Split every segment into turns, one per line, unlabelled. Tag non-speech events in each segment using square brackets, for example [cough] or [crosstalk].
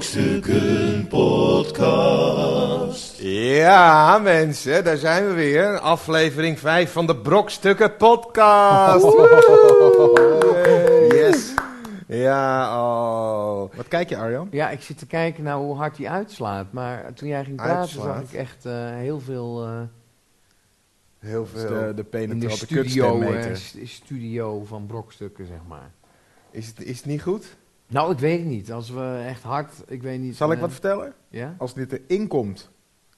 Brokstukken Podcast.
Ja, mensen, daar zijn we weer. Aflevering 5 van de Brokstukken Podcast.
[laughs]
Woehoe.
Yes.
Ja, oh.
Wat kijk je, Arjan?
Ja, ik zit te kijken naar hoe hard hij uitslaat. Maar toen jij ging praten,
Uitslaat?
zag ik echt eh, heel veel eh,
Heel
Dat is de,
veel.
de
in de
penetrante
studio, eh,
kutstemmeter.
st- studio van brokstukken, zeg maar.
Is het, is het niet goed?
Nou, ik weet het niet. Als we echt hard, ik weet niet.
Zal ik
eh,
wat vertellen?
Ja?
Als dit erin komt,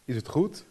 is het goed.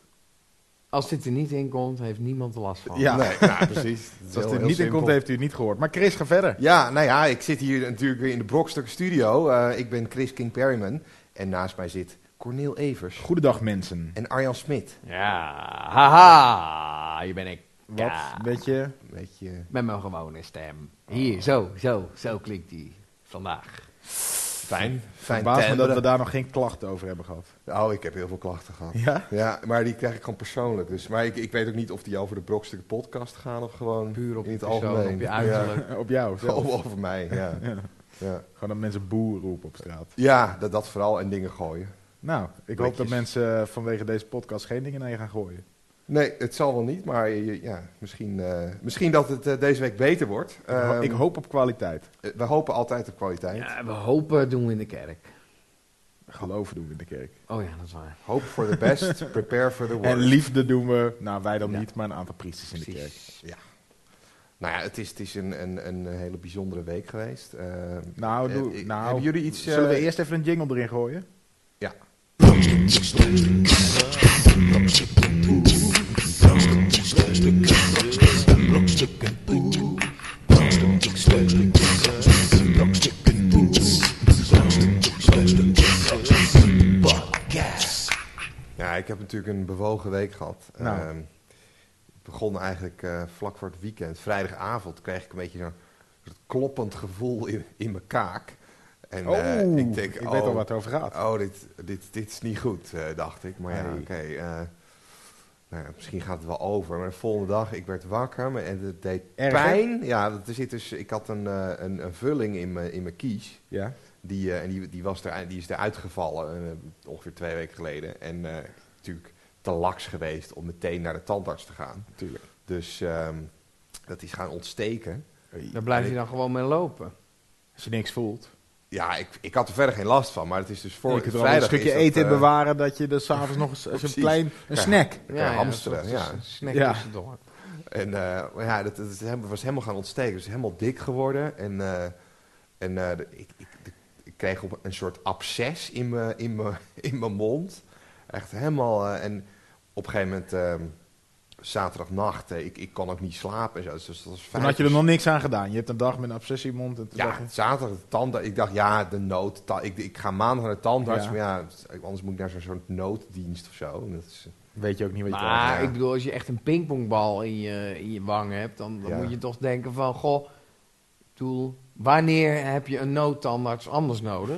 Als dit er niet in komt, heeft niemand er last van.
Ja. [laughs]
Nee, ja, precies. Dat is heel-
Dus als dit
heel
niet in
simpel.
komt, heeft u het niet gehoord. Maar Chris, ga verder.
Ja, nou ja, ik zit hier natuurlijk weer in de Brokstukken Studio. Eh, ik ben Chris King Perryman. En naast mij zit Corneel Evers.
Goedendag, mensen.
En Arjan Smit.
Ja, haha, hier ben ik.
Wat,
Ja.
weet je?
Weet je.
Met mijn gewone stem. Hier, zo, zo, zo klinkt die vandaag.
Fijn. Fijn
Verbaas me dat we
timbre.
daar nog geen klachten over hebben gehad.
Oh, ik heb heel veel klachten gehad.
Ja?
Ja, maar die krijg ik gewoon persoonlijk. Dus, maar ik, ik weet ook niet of die over de brokstukken podcast gaan of gewoon [laughs]
Puur op
in
je
het
persoon,
algemeen.
op je
Ja.
uiterlijk.
[laughs] Op jou zelf.
Of over mij,
[laughs]
ja.
Ja.
ja.
Gewoon dat mensen boer roepen op straat.
Ja, dat, dat vooral en dingen gooien.
Nou, ik hoop dat
Blikjes.
mensen eh, vanwege deze podcast geen dingen naar je gaan gooien.
Nee, het zal wel niet, maar je- ja, misschien, eh, misschien dat het eh, deze week beter wordt.
Ik ho-
Ehm,
ik hoop op kwaliteit.
eh, We hopen altijd op kwaliteit.
Ja, we hopen doen we in de kerk.
Geloven doen we in de kerk.
Oh ja, dat is waar.
Hope for the
[laughs]
best, prepare for the worst.
En liefde doen we, nou wij dan
Ja.
niet, maar een aantal priesters in de kerk.
Nou ja, het is, het is een, een, een hele bijzondere week geweest. Ehm,
Nou, doe-
eh,
nou,
hebben jullie iets... eh,
Zullen we eerst even een jingle erin gooien?
Ja. Ja, ik heb natuurlijk een bewogen week gehad.
Nou.
Ehm, ik begon eigenlijk eh, vlak voor het weekend. Vrijdagavond kreeg ik een beetje zo'n soort kloppend gevoel in, in mijn kaak. En eh,
Oh,
ik denk,
weet al
oh,
waar het over gaat.
Oh, dit, dit, dit is niet goed, eh, dacht ik. Maar ja,
Nee.
oké. eh, nou ja, misschien gaat het wel over. Maar de volgende dag, ik werd wakker maar- en het deed
Erg, hè?
pijn. Ja, dat- er zit dus, ik had een, eh, een, een vulling in mijn in mijn kies.
Ja.
Die, eh, en die, die, was er, die is eruit gevallen, eh, ongeveer twee weken geleden. En eh, natuurlijk te laks geweest om meteen naar de tandarts te gaan.
Natuurlijk.
Dus ehm, dat is gaan ontsteken.
Daar blijf je dan gewoon mee lopen.
Als je niks voelt.
Ja, ik, ik had er verder geen last van, maar het is dus voor
je kunt er wel een
vrijdag
stukje
is dat,
eten in
eh,
bewaren dat je er s'avonds nog eens als een
[laughs] Precies.
klein een
Ja.
snack.
kan je hamsteren,
een soort
ja.
s- Snack
Ja.
tussendoor.
En eh, maar ja, dat, dat is helemaal- was helemaal gaan ontsteken. Dus helemaal dik geworden. En, eh, en eh, de- ik, ik, de- ik kreeg op een soort absces in mijn in mijn- [laughs] in mijn mond. Echt helemaal. eh, en op een gegeven moment, ehm, zaterdagnacht, eh, ik, ik kon ook niet slapen. En zo. Dus dat was
Toen
vijf
had je er
uur
nog niks aan gedaan. Je hebt een dag met een obsessie in je mond en toen dacht
ja,
je,
zaterdag de tandarts. Ik dacht, ja, de nood. ta- Ik, ik ga maandag naar de tandarts.
Ja.
Maar ja, eh, anders moet ik naar zo'n soort nooddienst of zo. En dat is,
weet je ook niet wat je krijgt.
Maar ik bedoel, als je echt een pingpongbal in je, in je wang hebt, dan, dan
Ja.
moet je toch denken van, goh, doel, wanneer heb je een noodtandarts anders nodig?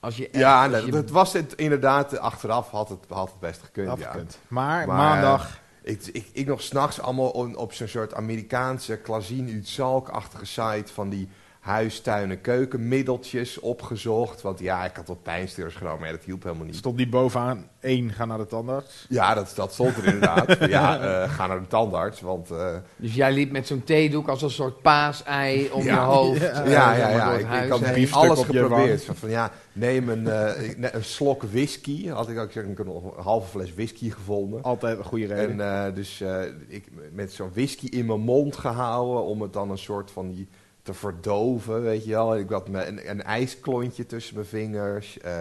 Als je echt,
ja,
als
nee,
dus je-
dat was het inderdaad. eh, Achteraf had het, had het best gekund. ja.
Afgekund. Maar,
Maar, eh,
maandag,
Ik, ik, ik nog s'nachts allemaal on- op zo'n soort Amerikaanse klazien uit zalkachtige site van die huistuinen keukenmiddeltjes opgezocht. Want ja, ik had wat pijnstillers genomen, maar ja, dat hielp helemaal niet.
stond die bovenaan. één ga naar de tandarts.
Ja, dat, dat stond er inderdaad. ja, eh, ga naar de tandarts, want... eh,
Dus jij liep met zo'n theedoek als een soort paasei om
Ja.
je hoofd.
Ja,
eh,
ja,
zeg
ja,
maar,
ja.
door het
Ik, ik
huis
had
heen.
bief- biefstuk
alles
op je
geprobeerd.
wang.
Van, van, ja, neem een, eh, ne- een slok whisky. Had ik ook zeg, ik had nog een halve fles whisky gevonden.
Altijd een goede reden.
En eh, dus eh, ik met zo'n whisky in mijn mond gehouden om het dan een soort van die te verdoven, weet je wel. Ik had me, een, een ijsklontje tussen mijn vingers. eh,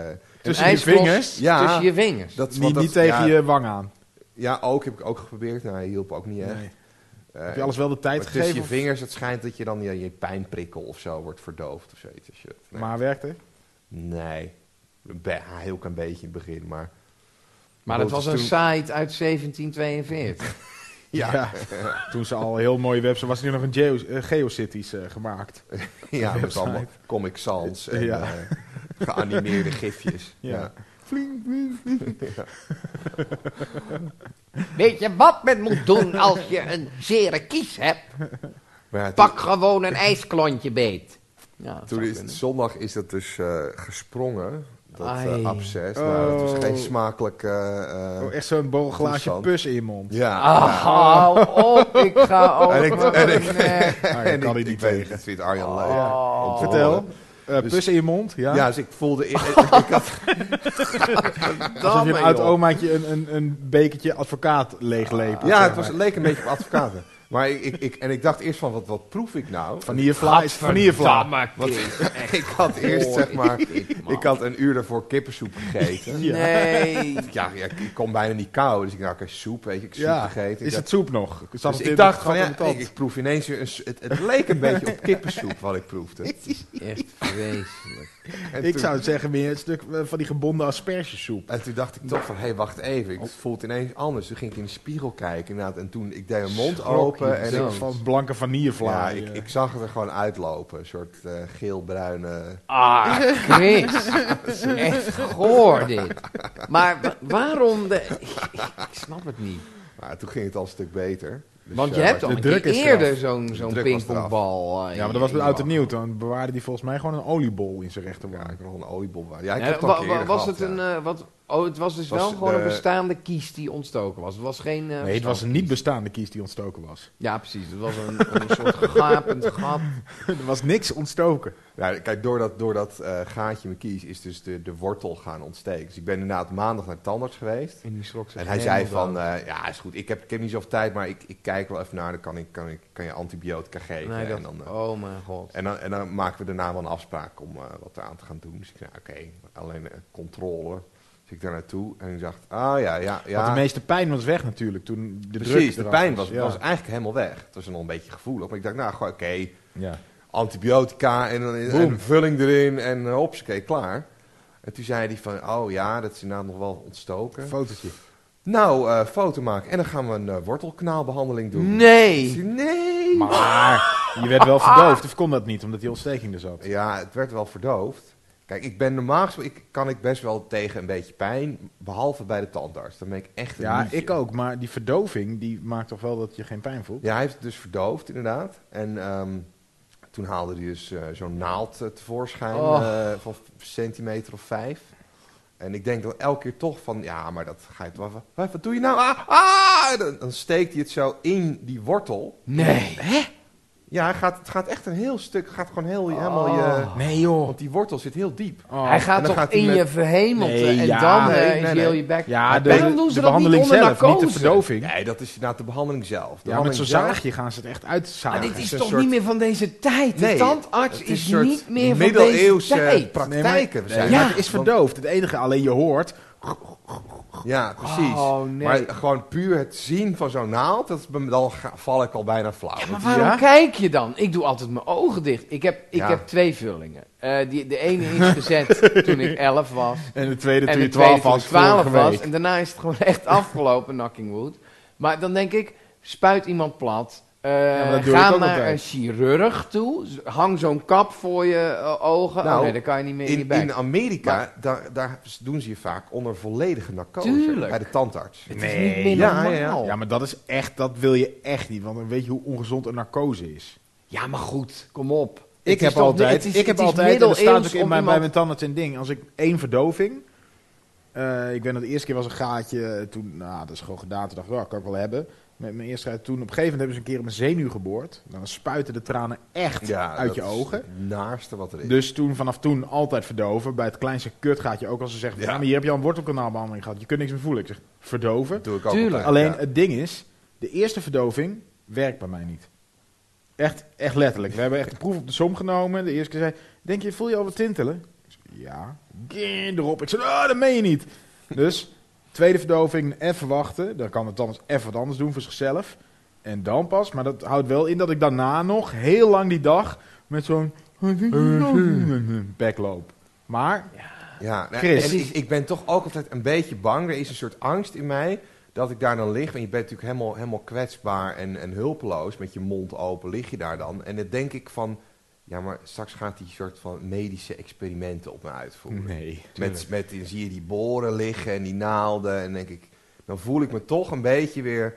tussen je
ijsblok.
vingers.
Ja.
Tussen je vingers.
dat,
Niet,
want dat-
niet tegen
ja,
je wang aan.
Ja, ook heb ik ook geprobeerd. Nou, hij hielp ook niet echt.
Nee.
Eh,
Heb je alles wel de
maar
tijd
tussen
gegeven?
je
of-
vingers, het schijnt dat je dan je, je pijnprikkel of zo wordt verdoofd of zoiets. Als je, het- nee.
Maar werkte?
nee. Een be- een heel klein beetje in het begin,
[laughs]
maar...
maar dat
Goed,
was
dus
een
toen-
site uit 1742.
Ja.
[laughs] Toen ze al heel mooie website was, er nog een Geo, eh, Geocities eh, gemaakt.
Ja, met
Website.
allemaal Comic Sans en
Ja.
eh, geanimeerde gifjes.
[laughs] Ja.
Ja.
Vling, vling, vling.
Weet je wat men moet doen als je een zere kies hebt?
Maar ja,
Pak gewoon een ijsklontje beet. Ja, dat
Toen
zou
is
kunnen.
zondag is dat dus eh, gesprongen. Dat
Ai.
eh absces. Nou, dat
Oh.
was geen smakelijk... eh, eh,
Oh, echt zo'n bogelglaasje
Constant.
pus in je mond.
Ja. [laughs]
Ah, hou op, ik ga over.
En ik- en ik-
Nee.
[laughs]
Ah, daar kan hij niet
weet
tegen.
het, Dat vindt Arjan
Oh.
leuk. Om te
Vertel.
horen.
Eh,
Dus-
pus in je mond, ja.
Ja. dus ik
[laughs]
voelde... Ik, ik had,
Alsof je
Damme,
Ah,
een oud
joh.
omaatje een, een, een bekertje advocaat leegleept.
ja, het was, leek een beetje op advocaten. Maar ik, ik, ik- en ik dacht eerst van, wat, wat proef ik nou?
Vanillevla is vanillevla.
Gadverdamme, kind.
[laughs] ik had eerst, zeg maar... Ik had een uur daarvoor kippensoep gegeten.
[laughs] Ja.
Nee.
Ja, ja, ik ik kon bijna niet kou. Dus ik dacht, oké, soep, weet je. Ik heb soep
Ja,
gegeten. Ik
is
dacht,
het soep nog? Zat
dus
het in
ik dacht
het
van,
gat
ja,
in de tand?
ik, ik proef ineens weer een... s- Het, het leek een beetje op kippensoep wat ik proefde.
Echt vreselijk.
En
Ik
toen-
zou het zeggen meer een stuk eh, van die gebonden aspergesoep.
En toen dacht ik toch van, hé, hey, wacht even. Ik voel het ineens anders. Toen ging ik in de spiegel kijken. inderdaad. En toen, ik deed mijn mond
Schrok
open.
je
En
zo.
ik,
Van blanke vanillevla.
ja, ik, ik zag het er gewoon uitlopen. Een soort eh, geel-bruine...
Ah, Chris. Echt goor dit. Maar wa- waarom de... Ik snap het niet.
Maar toen ging het al een stuk beter. Dus,
Want je
eh,
hebt
maar-
al
de
een
druk
keer
is
eerder
eraf.
zo'n zo'n
druk was
pingpongbal. eh,
Ja, maar
in-
dat was
in
met
je
oud en
hand.
nieuw. Toen bewaarde die volgens mij gewoon een oliebol in zijn
Ja,
rechterwang.
ik had nog een oliebol. bij. Ja, ik
Ja,
heb het al
Eh, wa-
een keer
wa-
eerder
was
gehad,
het een...
ja.
eh, wat, oh, het was dus
Was
wel gewoon een
de-
bestaande kies die ontstoken was. Het was geen... eh,
Nee, het was een
verstand.
niet bestaande kies die ontstoken was.
Ja, precies. Het was een, een soort gapend
[laughs]
gat.
er was niks ontstoken.
Ja, kijk, door dat, door dat eh, gaatje in mijn kies is dus de, de wortel gaan ontsteken. Dus ik ben inderdaad maandag naar de tandarts geweest.
En die schrok zich
En hij
helemaal
zei van,
dood.
eh, ja, is goed. Ik heb, ik heb niet zoveel tijd, maar ik, ik kijk wel even naar. Dan kan, ik, kan, ik, kan je antibiotica geven.
Nee,
en,
dat,
dan, eh,
oh mijn god.
en, dan, en dan maken we daarna wel een afspraak om eh, wat eraan te gaan doen. Dus ik zei, nou, oké, alleen eh, controle. Dus ik daar naartoe en ik dacht, ah ja, ja, ja.
Want de meeste pijn was weg natuurlijk. Toen de druk
Precies, de
eraf
pijn was,
ja.
was eigenlijk helemaal weg. Het was nog een beetje gevoelig. Maar ik dacht, nou, gewoon, oké,
Ja.
antibiotica en, dan- en
Boem.
een vulling erin en uh, hopsakee, klaar. En toen zei hij van, oh ja, dat is inderdaad nog wel ontstoken.
Fotootje.
nou, eh, foto maken. En dan gaan we een eh, wortelkanaalbehandeling doen. Ik zei,
Nee!
Nee!
Maar je werd wel verdoofd. Of kon dat niet, omdat die ontsteking er zat?
Ja, het werd wel verdoofd. Kijk, ik ben normaal gesproken, ik, kan ik best wel tegen een beetje pijn, behalve bij de tandarts. Dan ben ik echt een
Ja,
liefje.
ik ook. Maar die verdoving, die maakt toch wel dat je geen pijn voelt?
Ja, hij heeft het dus verdoofd, inderdaad. En ehm, toen haalde hij dus eh, zo'n naald eh, tevoorschijn
Oh.
eh, van een centimeter of vijf. En ik denk dan elke keer toch van, ja, maar dat ga je toch wel- Wat, wat doe je nou? Ah, ah! Dan, dan steekt hij het zo in die wortel. Oh.
Nee!
Ja, hij gaat, het gaat echt een heel stuk, gaat gewoon heel,
Oh.
helemaal je...
Nee joh.
Want die wortel zit heel diep.
Oh.
Hij
en
gaat
dan
toch
gaat hij
in
met-
je verhemelte
Nee,
en
ja.
dan eh,
Nee,
is
nee,
heel
nee.
je bek.
Ja,
Maar
de,
waarom doen ze
de
dat
behandeling
niet onder
zelf, niet de
narcose?
verdoving.
Nee, dat is inderdaad de behandeling zelf. De
Ja, met
behandeling
zo'n
zelf-
zaagje gaan ze het echt uitzagen.
Maar dit is
een
toch
soort-
niet meer van deze tijd?
Nee,
de tandarts
het
is,
is een soort
niet meer van deze
middeleeuwse
tijd.
praktijk.
maar-
praktijken, we
nee,
zijn-
maar
Ja.
het is verdoofd. Het enige, alleen je hoort...
Ja, precies.
Oh, nee.
Maar gewoon puur het zien van zo'n naald, dat, is bij me- dan ga- val ik al bijna flauw.
Maar
Want-
waarom
Ja?
kijk je dan? Ik doe altijd mijn ogen dicht. Ik heb, ik
Ja.
heb twee vullingen. Eh, die, de ene is
[laughs]
gezet toen ik 11 was.
En de tweede
en
toen je
de tweede
12
toen ik
was
12
vorige
was.
week.
En daarna is het gewoon [laughs] echt afgelopen, Knocking Wood. Maar dan denk ik, spuit iemand plat. eh,
Ja, maar dat doe ik
ga
ook
naar
altijd.
een chirurg toe. Z- Hang zo'n kap voor je eh, ogen.
Nou,
oh nee, dan kan je niet meer in, je
in,
bek.
in Amerika, daar, daar doen ze je vaak onder volledige narcose.
Tuurlijk.
Bij de tandarts.
het is
Nee.
niet meer
Ja,
normaal.
ja, ja.
Ja, maar dat is echt, dat wil je echt niet. Want dan weet je hoe ongezond een narcose is.
Ja, maar goed, kom op. Het
Ik
is
heb
toch-
altijd,
het is-
ik
het
heb
is
altijd, en dat staat
middeleeuws
ook in
om
mijn, bij
iemand-
mijn tandarts en ding. Als ik één verdoving, eh, ik ben dat de eerste keer was een gaatje, eh, toen, nou, dat is gewoon gedaan. Toen dacht ik, oh, kan ik wel hebben. Met mijn eerste uit toen, op een gegeven moment hebben ze een keer op mijn zenuw geboord. Dan spuiten de tranen echt uit
dat
je
is
ogen.
het naarste wat er is.
Dus toen, vanaf toen, altijd verdoven. Bij het kleinste kutgaatje ook als ze zeggen,
Ja.
ja, maar hier heb je al een wortelkanaalbehandeling gehad. Je kunt niks meer voelen. Ik zeg, verdoven.
dat doe ik ook
Tuurlijk.
altijd,
Alleen
Eh, ja.
het ding is, de eerste verdoving werkt bij mij niet. Echt, echt letterlijk. We hebben echt een proef op de som genomen. De eerste keer zei, denk je, voel je al wat tintelen? Ik zei, Ja. Geen erop. Ik zei, oh, dat meen je niet. Dus, tweede verdoving, even wachten. Dan kan het anders even wat anders doen voor zichzelf. En dan pas, maar dat houdt wel in dat ik daarna nog heel lang die dag
[laughs]
met zo'n backloop. Maar,
Ja, nou,
Chris.
en ik, ik ben toch ook altijd een beetje bang. Er is een soort angst in mij dat ik daar dan lig. Want je bent natuurlijk helemaal, helemaal kwetsbaar en, en hulpeloos. Met je mond open lig je daar dan. En dan denk ik van... Ja, maar straks gaat die soort van medische experimenten op me uitvoeren.
nee.
Met, met, dan zie je die boren liggen en die naalden. En denk ik, dan voel ik me toch een beetje weer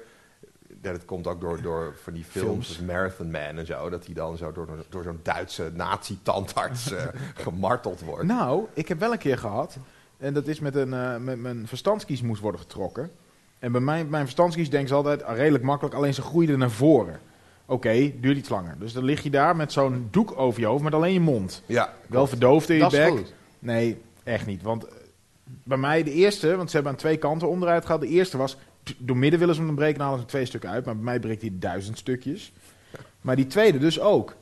ja, dat komt ook door, door van die films,
Films.
als Marathon Man en zo. Dat hij dan zo door, door zo'n Duitse
[laughs]
nazi-tandarts eh, gemarteld wordt.
Nou, ik heb wel een keer gehad. En dat is met een. eh, met mijn verstandskies moest worden getrokken. En bij mij, mijn verstandskies denkt ze altijd ah, redelijk makkelijk, alleen ze groeide naar voren. Oké, duurt iets langer. Dus dan lig je daar met zo'n doek over je hoofd, met alleen je mond.
ja,
Wel verdoofd in je
Dat is
bek.
goed.
Nee, echt niet. Want eh, bij mij de eerste, want ze hebben aan twee kanten onderuit gehaald. De eerste was, t- door midden willen ze hem breken, dan halen ze twee stukken uit. Maar bij mij breekt hij duizend stukjes. Maar die tweede dus ook.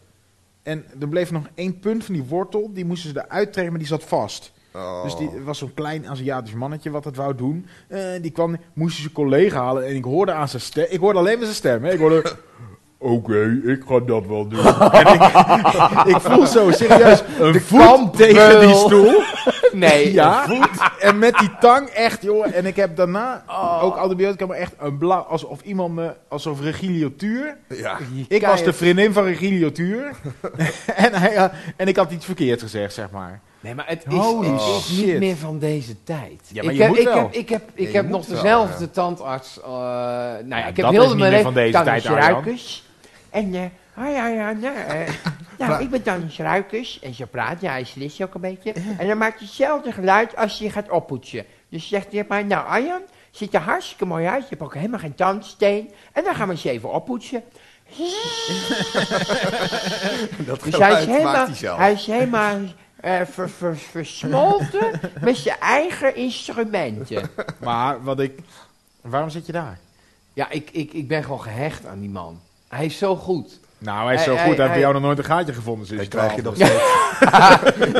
En er bleef nog één punt van die wortel, die moesten ze eruit trekken, maar die zat vast.
Oh.
Dus die er was zo'n klein Aziatisch mannetje wat het wou doen. Eh, die kwam, moest zijn collega halen en ik hoorde aan zijn stem. Ik hoorde alleen maar zijn stem. Hè. Ik hoorde, oké, ik ga dat wel doen. en ik, ik voel zo serieus een voet tegen die stoel.
[laughs] Nee,
ja, en met die tang echt, joh. En ik heb daarna
Oh.
ook antibiotica, maar echt een blauw, alsof iemand me, alsof Regilio Tuur.
[laughs]
[laughs]
ja.
Ik was de vriendin van Regilio Tuur. [laughs] en, hij, eh, en ik had iets verkeerd gezegd, zeg maar.
Nee, maar het is,
Holy
het is
shit.
niet meer van deze tijd.
Ja, maar
ik
je
heb,
moet
ik
wel.
heb, ik heb, ik
je
heb
moet
nog
wel,
dezelfde
ja.
tandarts. eh, nou ja, ik heb
dat
heel
is
de mijn
niet meer
leven
van deze tijd, Arjan.
tandartsruikers. En eh, ah ja, ja, ja.
[laughs]
eh, nou, ik ben tandartsruikers. En zo praat ja, hij slist ook een beetje. En dan maakt hij hetzelfde geluid als hij gaat oppoetsen. Dus zegt hij tegen mij, nou Arjan, ziet er hartstikke mooi uit. Je hebt ook helemaal geen tandsteen. En dan gaan we eens even oppoetsen.
Dat
Dus hij is
geluid maakt hij
helemaal,
zelf.
hij is helemaal eh, ver- ver- versmolten met zijn eigen instrumenten.
Maar wat ik... Waarom zit je daar?
Ja, ik, ik, ik ben gewoon gehecht aan die man. Hij is zo [laughs] goed.
Nou, hij is
Hij-
zo
hij-
goed. Hij heeft bij
hij-
jou nog nooit een gaatje gevonden sinds
Dan
je
krijg je
12
[laughs]
nog steeds...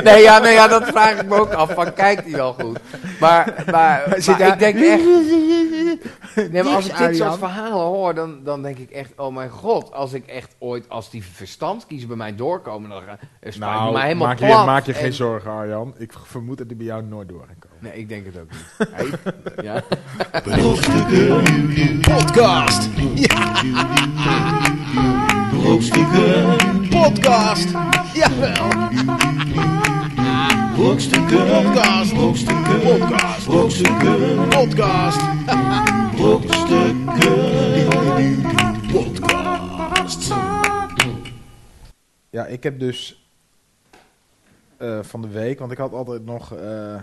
Nee, ja, nee, ja, dat vraag ik me ook af. Van, kijkt hij wel goed? Maar, maar,
zit
maar
daar-
ik denk echt... Nee, maar als ik dit
Arjan.
soort verhalen hoor, dan, dan denk ik echt... Oh mijn god, als ik echt ooit... Als die verstandkiezen bij mij doorkomen, dan gaan eh, spuit
Nou,
me maar helemaal
maak, je,
plat.
maak je
En-
geen zorgen, Arjan. Ik vermoed dat die bij jou nooit door gaan komen.
Nee, ik denk het ook niet. Hij- [laughs] ja.
Brokstukken podcast. Brokstukken podcast. Jawel. Brokstukken podcast. Brokstukken podcast. Brokstukken podcast. Brokstukken podcast.
Ja, ik heb dus eh, van de week, want ik had altijd nog, eh,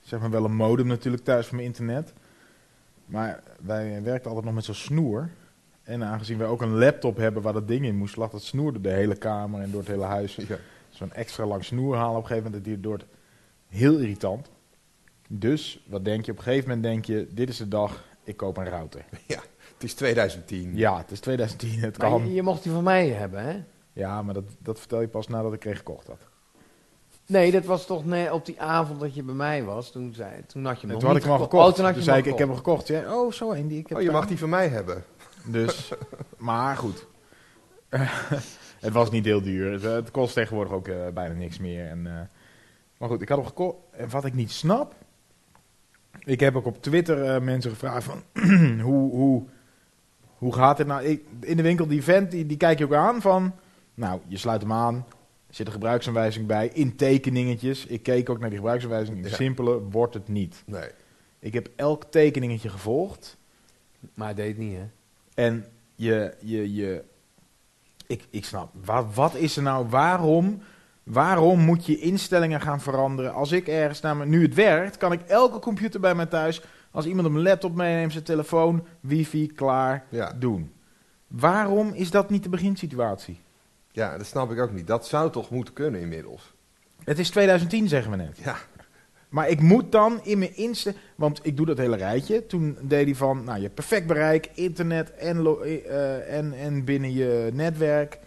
zeg maar wel een modem natuurlijk thuis voor mijn internet. Maar wij werkten altijd nog met zo'n snoer. En aangezien wij ook een laptop hebben waar dat ding in moest, lag dat snoer door de hele kamer en door het hele huis.
Ja.
Zo'n extra lang snoer halen op een gegeven moment, dat duurt door het heel irritant. Dus, wat denk je? Op een gegeven moment denk je, dit is de dag, ik koop een router.
ja, het is 2010.
Ja, het is 2010, het
Maar
kan.
je, je mocht die van mij hebben, hè?
Ja, maar dat, dat vertel je pas nadat ik er gekocht had.
Nee, dat was toch nee, op die avond dat je bij mij was. Toen, zei, toen had je hem nog
En toen had
niet
ik hem al
geko-
gekocht.
Oh, toen had
toen
je hem
zei
al
ik, ik heb hem gekocht. Ja, oh, zo een die ik heb.
Oh, je mag
daar.
die van mij hebben.
Dus, maar goed. [laughs] het was niet heel duur. Het, eh, het kost tegenwoordig ook eh, bijna niks meer. En, eh, maar goed, ik had hem gekocht. En wat ik niet snap... Ik heb ook op Twitter eh, mensen gevraagd van... [clears throat] hoe, hoe, hoe gaat het nou? Ik- in de winkel, die vent, die, die kijk je ook aan van... Nou, je sluit hem aan. Er zit een gebruiksaanwijzing bij. In tekeningetjes. Ik keek ook naar die gebruiksaanwijzing.
Ja.
Simpeler wordt het niet.
Nee.
Ik heb elk tekeningetje gevolgd.
Maar hij deed niet, hè?
En je, je, je ik, ik snap, wat, wat is er nou, waarom, waarom moet je instellingen gaan veranderen? Als ik ergens naar mijn, nu het werkt, kan ik elke computer bij mij thuis, als iemand een laptop meeneemt, zijn telefoon, wifi, klaar,
Ja.
doen. Waarom is dat niet de beginsituatie?
ja, dat snap ik ook niet. Dat zou toch moeten kunnen inmiddels?
Het is 2010, zeggen we net.
Ja.
Maar ik moet dan in mijn inste... Want ik doe dat hele rijtje. Toen deed hij van, nou, je hebt perfect bereik, internet en, lo- eh, en, en binnen je netwerk.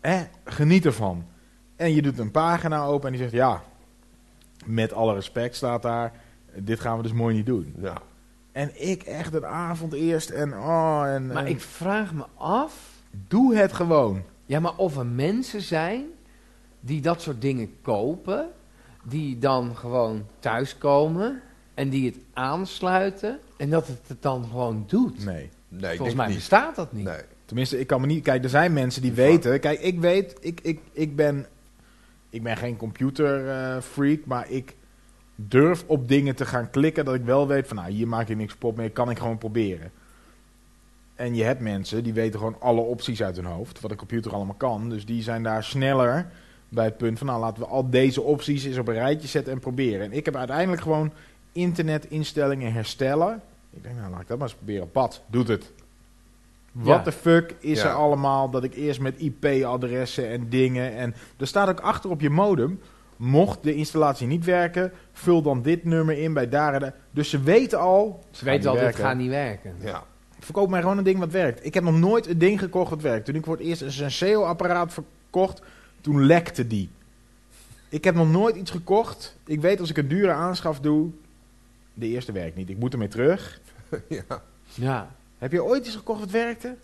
Hè, geniet ervan. En je doet een pagina open en die zegt, ja, met alle respect staat daar... Dit gaan we dus mooi niet doen.
Ja.
En ik echt een avond eerst en oh en...
Maar
en
ik vraag me af...
doe het gewoon.
Ja, maar of er mensen zijn die dat soort dingen kopen... die dan gewoon thuiskomen en die het aansluiten... en dat het het dan gewoon doet.
Nee.
Nee, ik
Volgens
denk
mij
het niet.
bestaat dat niet.
Nee.
Tenminste, ik kan me niet. Kijk, er zijn mensen die
Fuck.
weten. Kijk, ik weet, ik, ik, ik ben. Ik ben geen computerfreak, freak, maar ik durf op dingen te gaan klikken dat ik wel weet van, nou, hier maak ik niks pop mee, kan ik gewoon proberen. En je hebt mensen die weten gewoon alle opties uit hun hoofd, wat een computer allemaal kan. Dus die zijn daar sneller bij het punt van, nou laten we al deze opties eens op een rijtje zetten en proberen. En ik heb uiteindelijk gewoon internetinstellingen herstellen. Ik denk, nou laat ik dat maar eens proberen. Pad, doet het. Wat
Ja.
de fuck is
Ja.
er allemaal dat ik eerst met IP-adressen en dingen. En er staat ook achter op je modem. Mocht de installatie niet werken, vul dan dit nummer in bij daar en daar. Dus ze weten al.
Ze weten al,
dat
dit gaat niet werken.
Ja.
Verkoop mij gewoon een ding wat werkt. Ik heb nog nooit een ding gekocht wat werkt. Toen ik voor het eerst een Senseo-apparaat verkocht, toen lekte die. Ik heb nog nooit iets gekocht. Ik weet als ik een dure aanschaf doe, de eerste werkt niet. Ik moet ermee terug.
ja.
Ja,
Heb je ooit iets gekocht wat werkte?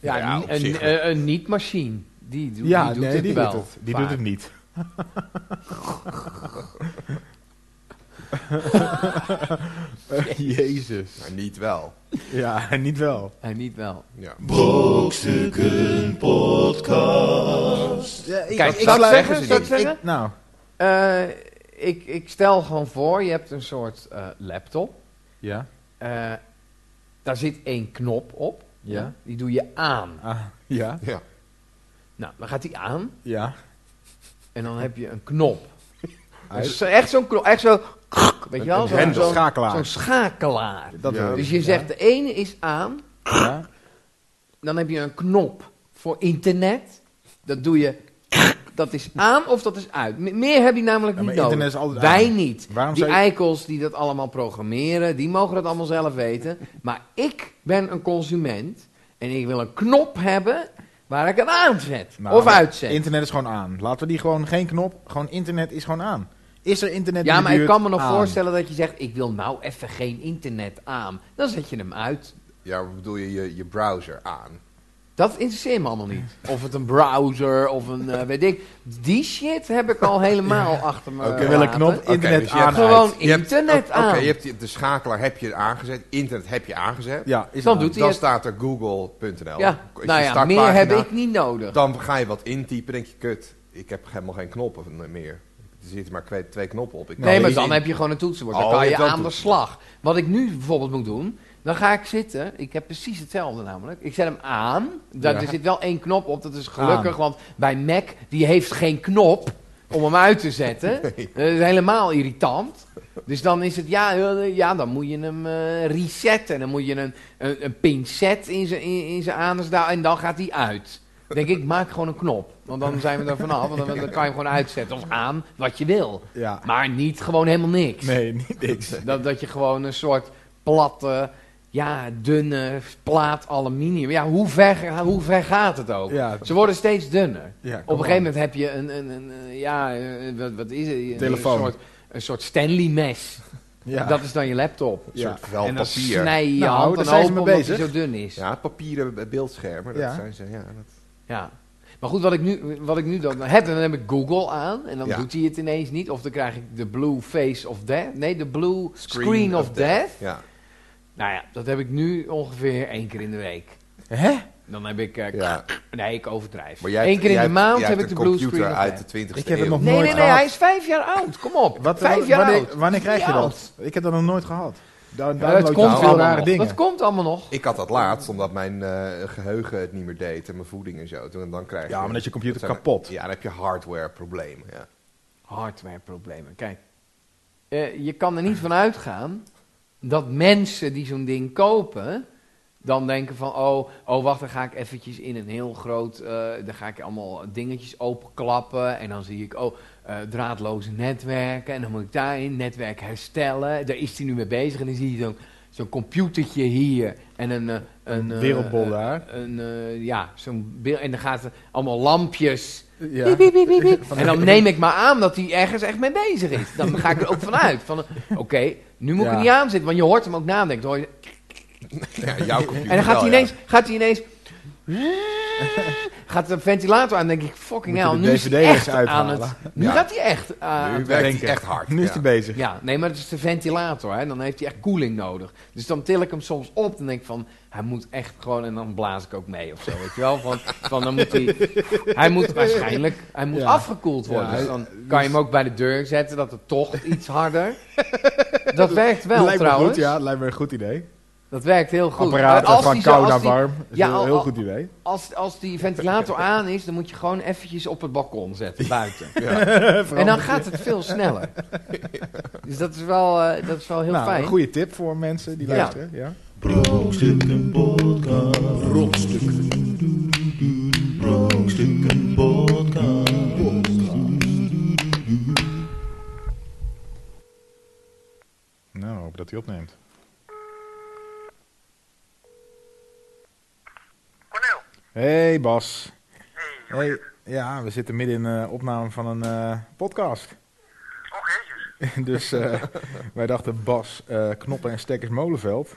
ja,
Ja,
Nou,
een-
op
een,
zich.
eh, een niet-machine. Die, doet- die doet het
die
wel.
doet het. Die
vaak.
doet het niet.
[laughs]
Jezus.
Maar niet wel.
Ja, en niet wel.
En niet wel.
Ja.
Brokstukken podcast.
Kijk, ik
dat
zou
zeggen
zeggen,
ze
zou ik
niet.
zeggen?
nou,
Eh, ik, ik stel gewoon voor, je hebt een soort eh, laptop.
ja.
Eh, daar zit één knop op.
Ja.
Die doe je aan.
Ah, ja.
Ja.
Nou, dan gaat die aan.
Ja.
En dan heb je een
[laughs]
knop.
Uit.
Dus echt zo'n knop. Echt zo... Weet je wel?
een
Zo'n
hendel.
zo'n-
schakelaar.
zo'n schakelaar.
dat
Ja.
wil
Dus
ik.
je zegt, de ene is aan.
Ja.
Dan heb je een knop voor internet. Dat doe je... Dat is aan of dat is uit. Me- Meer heb je namelijk
Ja,
niet
maar
nodig.
internet is altijd
Wij
aan.
niet.
Waarom
die
zou je-
eikels die dat allemaal programmeren, die mogen dat allemaal zelf
[laughs]
weten. Maar ik ben een consument en ik wil een knop hebben waar ik het aanzet.
Nou,
of uitzet.
Internet is gewoon aan. Laten we die gewoon geen knop. Gewoon internet is gewoon aan. Is er internet in
Ja,
de
maar ik
buurt?
kan me nog
Aan.
voorstellen dat je zegt: Ik wil nou even geen internet aan. Dan zet je hem uit.
Ja, wat bedoel je, je je browser aan?
Dat interesseert me allemaal niet. Of het een browser of een eh, weet ik. Die shit heb ik al helemaal achter me.
Oké.
Ik wil een
laten.
knop
Oké,
internet
dus je
aan.
hebt
Gewoon
Je hebt- oh,
internet
Oké,
aan.
je hebt die- de schakelaar heb je aangezet, internet heb je aangezet.
Ja, is
Dan
aan.
doet hij
dan
het.
staat er google.nl.
Ja,
Is je
nou ja,
startpagina.
meer heb ik niet nodig.
Dan ga je wat intypen, denk je, kut, ik heb helemaal geen knoppen meer. Er zitten maar kwe- twee knoppen op. Ik kan
nee, maar
niet
dan
in-
heb je gewoon een toetsenbord. Dan
Oh,
kan
je
je
hebt wel
aan de slag. Wat ik nu bijvoorbeeld moet doen, dan ga ik zitten. Ik heb precies hetzelfde namelijk. Ik zet hem aan. Daar,
Ja.
Er zit wel één knop op, dat is gelukkig. Want bij Mac, die heeft geen knop om hem uit te
[laughs]
zetten. Dat is helemaal irritant. Dus dan is het, ja, eh, ja dan moet je hem eh, resetten. Dan moet je een, een, een pincet in zijn in, in zijn anus daar en dan gaat hij uit. Dan denk ik, maak gewoon een knop. Want dan zijn we er vanaf. Want dan, dan kan je hem gewoon uitzetten of aan wat je wil.
Ja.
Maar niet gewoon helemaal niks.
Nee, niet
[laughs]
niks.
Dat, dat je gewoon een soort platte, ja, dunne plaat aluminium. Ja, hoe ver, ga- hoe ver gaat het ook?
Ja.
Ze worden steeds dunner.
Ja,
Op een gegeven moment heb je een, een, een, eh, ja, eh, wat, wat is het? Een-
Telefoon.
Een soort, een soort Stanley-mes.
Ja.
Dat is dan je laptop.
Een soort
Ja.
vel
en dan
papier.
snij je je
Nou,
hand
daar
dan
zijn ze
open
mee
omdat hij
bezig.
zo dun is. Ja.
Ja, papieren be- beeldschermen, dat
Ja.
zijn ze. Ja, dat...
Maar goed, wat ik nu, wat ik nu dan heb, dan heb ik Google aan. En dan
Ja.
doet hij het ineens niet. Of dan krijg ik de blue face of death. Nee, de blue screen,
Screen
of,
of
death.
ja.
Nou ja, dat heb ik nu ongeveer één keer in de week.
Hè?
Dan heb ik... eh,
ja.
Nee, ik overdrijf.
Maar
Eén
jij
keer in de maand heb ik de blue
computer
screen.
uit de
erbij.
20e
Ik heb het
eeuw.
nog
Nee, nee,
nooit
nee,
gehad.
hij is vijf jaar oud. Kom op.
Wat, eh,
vijf jaar
wanneer,
oud.
wanneer krijg je
Ja.
dat? Ik heb dat nog nooit gehad. Dan
Ja, dat, komt
veel
allemaal
rare
nog.
dingen.
dat komt allemaal nog.
Ik had dat laatst, omdat mijn eh, geheugen het niet meer deed en mijn voeding en zo. Toen, dan krijg
Ja, maar dan is je computer
dat zijn-
kapot.
Ja, dan heb je hardware problemen. Ja. [laughs]
Hardwareproblemen. Kijk, eh, je kan er niet van uitgaan dat mensen die zo'n ding kopen, dan denken van, oh, oh wacht, dan ga ik eventjes in een heel groot, eh, dan ga ik allemaal dingetjes openklappen en dan zie ik, oh, eh, draadloze netwerken en dan moet ik daarin netwerk herstellen. Daar is hij nu mee bezig en dan zie je zo'n zo'n computertje hier en een... eh, een eh,
wereldbol
eh,
daar.
Een, eh, ja, zo'n beeld. En dan gaat er allemaal lampjes.
[laughs] Ja.
Piep, piep, piep, piep, piep. En dan neem ik maar aan dat hij ergens echt mee bezig is. Dan ga ik er ook vanuit. Van, Oké, nu moet ik
Ja.
er niet aan zitten, want je hoort hem ook nadenken. Hoor je-
Ja, jouw computer
En dan gaat
wel,
hij
ja.
ineens. Gaat hij ineens gaat de ventilator aan, dan denk ik, fucking
Moet je
hell,
de
nu is
DVD
hij echt
eens uithalen.
aan het... Nu
Ja.
gaat hij echt eh, aan
Nu
het
werkt
Ah. denken.
hij echt hard.
Nu is
ja.
hij bezig.
ja, nee, maar het is de ventilator, hè. Dan heeft hij echt koeling nodig. Dus dan til ik hem soms op, dan denk ik van... Hij moet echt gewoon... En dan blaas ik ook mee of zo, weet je wel. Van, van dan moet hij... Hij moet waarschijnlijk... Hij moet
Ja.
afgekoeld worden.
Ja,
dus
hij-
dan kan je hem ook bij de deur zetten, dat het tocht iets harder. dat werkt wel,
lijkt me
trouwens.
goed, ja. Lijkt me een goed idee.
Dat werkt heel goed.
Apparaten
Maar als
van
die zo-
koud
als
naar
die-
warm. Dat is
Ja,
een
al-
heel
al-
goed idee.
Als, als die ventilator aan is, dan moet je gewoon eventjes op het balkon zetten, buiten. En dan
Veranderd.
gaat het veel sneller. Dus dat is wel, eh, dat is wel heel
nou,
fijn.
Een goede tip voor mensen die
Ja.
luisteren. Ja.
Brokstukken podcast. Brokstukken podcast.
Nou, hoop dat hij opneemt.
Cornel.
Hey Bas.
Hey,
Hey. Ja, we zitten midden in eh, opname van een eh, podcast.
oh jezus.
[laughs] dus eh, wij dachten Bas, eh, Knoppen en Stekkers Molenveld.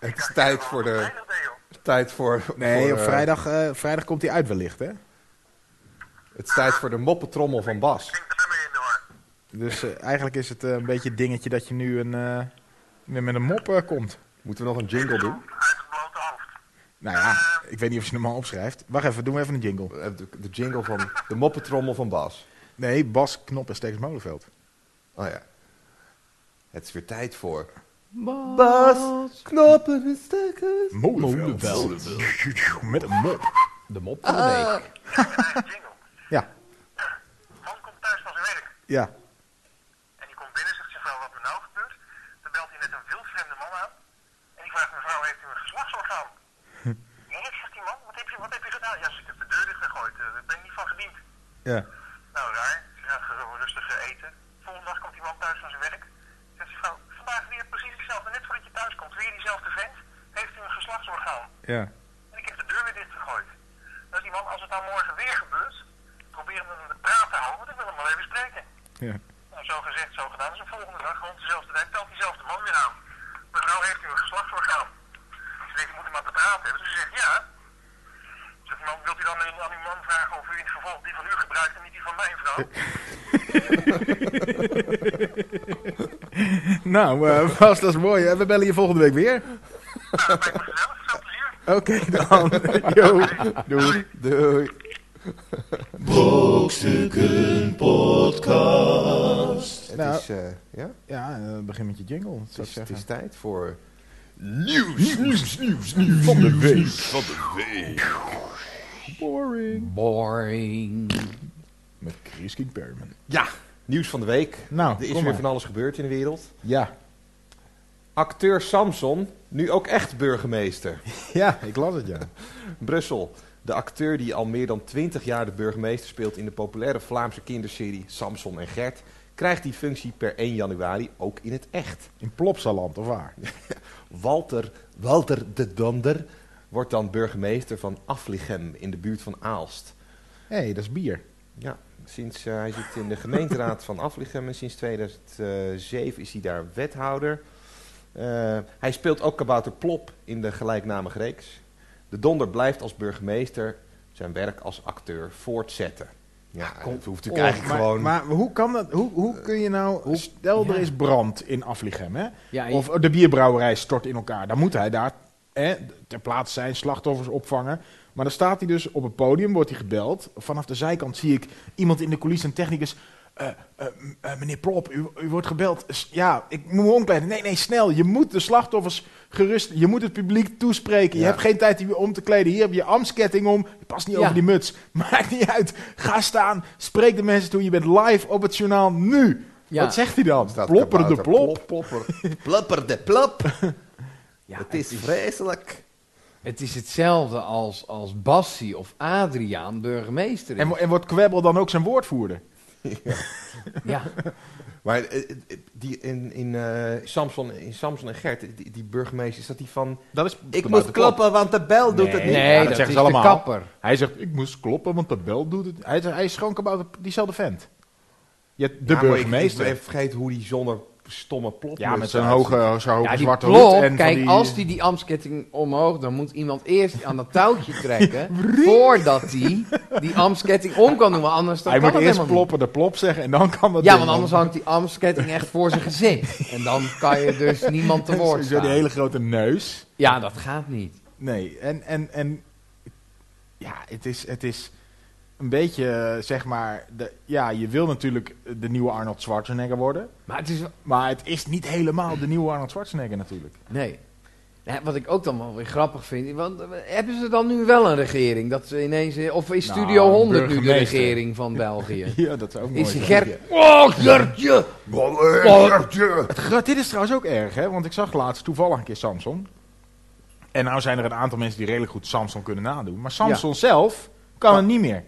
Het is tijd voor de...
Weinig deed, joh.
Tijd voor,
Nee,
voor,
op
eh,
vrijdag, eh, vrijdag komt hij uit wellicht, hè?
Het is tijd voor de moppetrommel van Bas.
Ik ben mee in de war.
Dus eh, [laughs] eigenlijk is het eh, een beetje het dingetje dat je nu een, eh, weer met een mop eh, komt.
Moeten we nog een jingle doen?
Uit het blote [laughs] hoofd.
Nou ja, ik weet niet of je hem al opschrijft. Wacht even, doen we even een jingle.
Eh, De, de jingle van... De moppetrommel van Bas.
Nee, Bas, Knop en Stekkers Molenveld.
Oh ja. Het is weer tijd voor...
Bas.
knoppen en stekkers.
Molenveld. Met een mop.
De mop van de week.
Eigen jingle.
Ja,
Man komt thuis van zijn werk.
ja.
En die komt binnen, zegt zijn vrouw wat er nou gebeurt. Dan belt hij net een wildvreemde man aan. En die vraagt mevrouw, heeft u een [laughs] geslachtsorgaan? Nee, zegt die man, wat heb je, wat heb je gedaan? Ja, ze heeft de deur dicht gegooid. eh, Daar ben ik niet van gediend.
ja.
Nou, raar. Ze gaat gewoon rustig eh, eten. Volgende dag komt die man thuis van zijn werk. Zegt die vrouw, vandaag weer precies hetzelfde. Net voordat je thuis komt, weer diezelfde vent. Heeft u een geslachtsorgaan?
ja.
En ik heb de deur weer dichtgegooid. Dus die man, als het nou morgen weer gebeurt, probeer hem aan de praat te houden, want ik wil hem wel even spreken.
ja.
Nou, zo gezegd, zo gedaan. Dus de volgende dag, rond dezelfde tijd, telt diezelfde man weer aan. Mevrouw heeft u een geslachtsorgaan. Ze denkt, je moet hem aan de praat hebben. Dus ze zegt, ja. Zegt die man, wilt u dan aan aan uw man vragen of u in het vervolg die van u gebruikt en niet die van mijn vrouw?
[laughs] Nou, eh, Bas, dat is mooi. hè. We bellen je volgende week weer.
Nou, dat lijkt
Oké, dan. [laughs]
me gezellig. Veel plezier.
Yo. Doei.
Doei.
Brokstukken podcast.
Het
Nou.
is... eh, ja?
Ja, eh, begin met je jingle. zou ik
Het is, het
zeggen.
is tijd voor...
Van de week.
Van de week.
Boring.
Boring.
Met Chris King Perman.
Ja, nieuws van de week.
Nou,
Er is
kom
weer
maar.
van alles gebeurd in de wereld.
Ja.
Acteur Samson, nu ook echt
[laughs]
burgemeester.
Ja, ik las het, ja.
Brussel. De acteur die al meer dan 20 jaar de burgemeester speelt in de populaire Vlaamse kinderserie Samson en Gert, krijgt die functie per 1 januari ook in het echt.
In Plopsaland, of waar?
Walter, Walter de Donder wordt dan burgemeester van Aflichem in de buurt van Aalst.
Hé, hey, dat is bier.
Ja, sinds, eh, hij zit in de gemeenteraad van Aflichem en sinds 2007 is hij daar wethouder. Eh, hij speelt ook kabouter Plop in de gelijknamige reeks. De Donder blijft als burgemeester zijn werk als acteur voortzetten. Ja, dat hoeft natuurlijk eigenlijk
Ah, oh, maar,
gewoon...
Maar hoe kan dat? Hoe, hoe kun je nou... stel,
ja.
er is brand in Aflichem, hè?
Ja, je-
Of de bierbrouwerij stort in elkaar. Dan moet hij daar hè, ter plaatse zijn, slachtoffers opvangen. Maar dan staat hij dus op het podium, wordt hij gebeld. Vanaf de zijkant zie ik iemand in de coulissen, een technicus... eh, eh, m- eh, meneer Plop, u, u wordt gebeld. S- Ja, ik moet me omkleden. Nee, nee, snel. Je moet de slachtoffers gerust... Je moet het publiek toespreken. Je
Ja.
hebt geen tijd hier om te kleden. Hier heb je je amsketting om. Je past niet
Ja.
over die muts. [laughs] Maakt niet uit. Ga staan. Spreek de mensen toe. Je bent live op het journaal nu.
Ja.
Wat zegt hij dan?
staat
Plopper de
kabouter
plop.
plopper. plopper de plop.
Ja,
het is vreselijk.
het is hetzelfde als, als Bassi of Adriaan burgemeester. is.
En, wo- en wordt Kwebbel dan ook zijn woordvoerder? [laughs]
ja.
Maar eh, eh, die in, in, eh, Samson, in Samson en Gert, die, die burgemeester, is dat die van...
Dat is
Ik moet kloppen, want de bel doet het niet.
Nee,
Ja, dat
dat,
zeggen
is
ze allemaal.
de kapper.
Hij zegt, ik moest kloppen, want de bel doet het. Hij, hij is gewoon kabouter, diezelfde vent. Je hebt de
Ja, maar ik-
burgemeester.
Ik, ben vergeten hoe die zonder stomme plot.
ja, met zijn hoge, zo'n hoge
Ja, die
zwarte
plop,
hoed. En
kijk,
van die,
als die die amsketting omhoog, dan moet iemand eerst aan dat touwtje
[laughs]
trekken, voordat hij die amsketting om kan doen, want anders dan
hij
kan
moet
het
eerst
helemaal niet.
ploppen de plop zeggen en dan kan dat
Ja,
ding
want anders
om.
hangt die amsketting echt voor zijn gezicht. En dan kan je dus niemand
[laughs]
te woord
Zo die
staan.
hele grote neus.
Ja, dat gaat niet.
Nee, en, en, en ja, het is, het is een beetje, eh, zeg maar, de, ja, je wil natuurlijk de nieuwe Arnold Schwarzenegger worden.
Maar het is... wel-
Maar het is niet helemaal de nieuwe Arnold Schwarzenegger natuurlijk.
Nee. Ja, wat ik ook dan wel weer grappig vind. Want eh, hebben ze dan nu wel een regering? Dat ze ineens, eh, of is
Nou,
Studio
een
100 nu de
burgemeester.
regering van België?
[laughs] Ja, dat zou ook mooi
Is
zijn.
Gert...
Oh, Gertje! Oh, Gertje!
Gra- Dit is trouwens ook erg, hè? Want ik zag laatst toevallig een keer Samson. En nou zijn er een aantal mensen die redelijk goed Samson kunnen nadoen. Maar Samson zelf kan het niet meer.